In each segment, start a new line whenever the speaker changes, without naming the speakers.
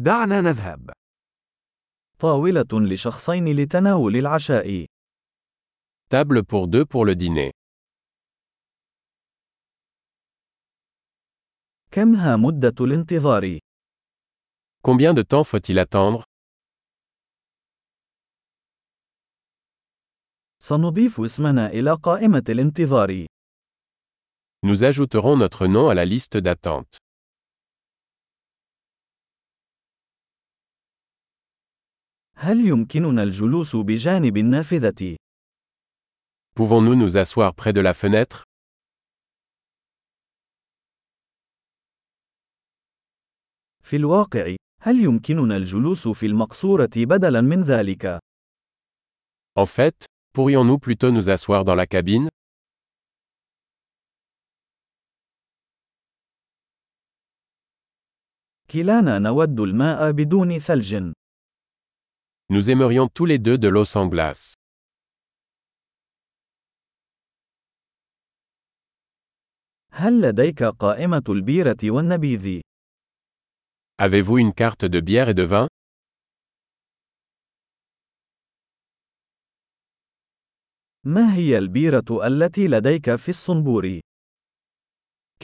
دعنا نذهب.
طاولة لشخصين لتناول العشاء.
Table pour deux pour le dîner.
كم ها مدة الانتظار؟
Combien de temps faut-il attendre
سنضيف اسمنا إلى قائمة الانتظار.
Nous ajouterons notre nom à la liste d'attente.
هل يمكننا الجلوس بجانب النافذة؟
Pouvons-nous nous asseoir près de la fenêtre
في الواقع، هل يمكننا الجلوس في المقصورة بدلاً من ذلك؟
En fait, pourrions-nous plutôt nous asseoir dans la cabine
كلانا نود الماء بدون ثلج.
Nous aimerions tous les deux de l'eau sans glace.
هل لديك قائمة البيرة والنبيذ؟
Avez-vous une carte de bière et de vin
ما هي البيرة التي لديك في الصنبور؟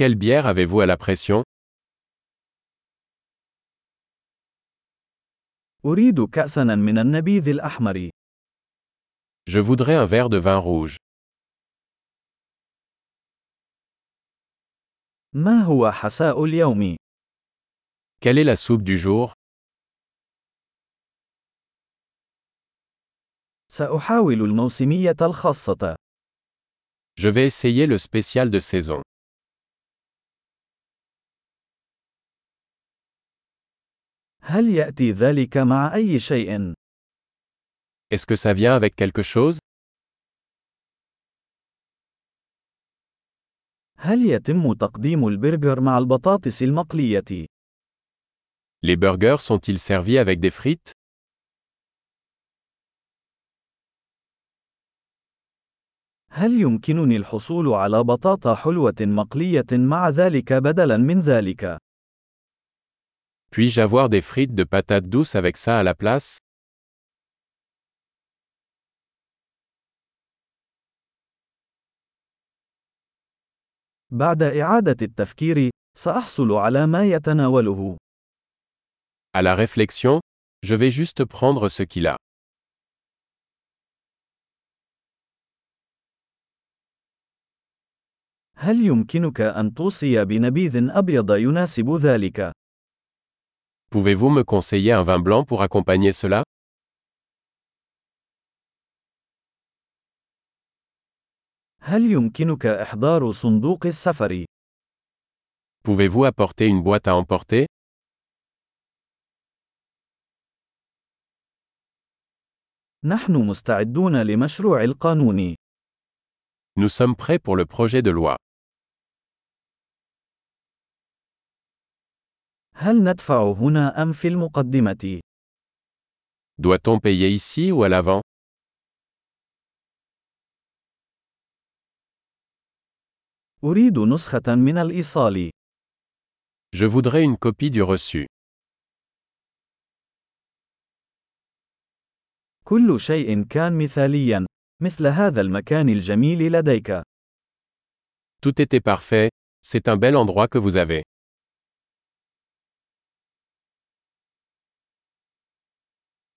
Quelle bière avez-vous à la pression
أريد كأساً من النبيذ الأحمر.
Je voudrais un verre de vin rouge.
ما هو حساء اليوم؟
Quelle est la soupe du jour
سأحاول الموسمية الخاصة.
Je vais essayer le spécial de saison.
هل يأتي ذلك مع أي شيء؟
Est-ce que ça vient avec quelque chose
هل يتم تقديم البرجر مع البطاطس المقلية؟
Les burgers sont-ils servis avec des frites
هل يمكنني الحصول على بطاطا حلوة مقلية مع ذلك بدلاً من ذلك؟
Puis-je avoir des frites de patates douces avec ça à la place
بعد إعادة التفكير، سأحصل على ما يتناوله.
À la réflexion, je vais juste prendre ce qu'il a.
هل يمكنك أن توصي بنبيذ أبيض يناسب ذلك؟
Pouvez-vous me conseiller un vin blanc pour accompagner cela
هل يمكنك إحضار صندوق السفر؟
Pouvez-vous apporter une boîte à emporter
نحن مستعدون لمشروع القانون.
Nous sommes prêts pour le projet de loi.
هل ندفع هنا أم في المقدمة؟
Doit-on payer ici ou à l'avant
أريد نسخة من الإيصال.
Je voudrais une copie du reçu.
كل شيء كان مثاليا، مثل هذا المكان الجميل لديك.
Tout était parfait, c'est un bel endroit que vous avez.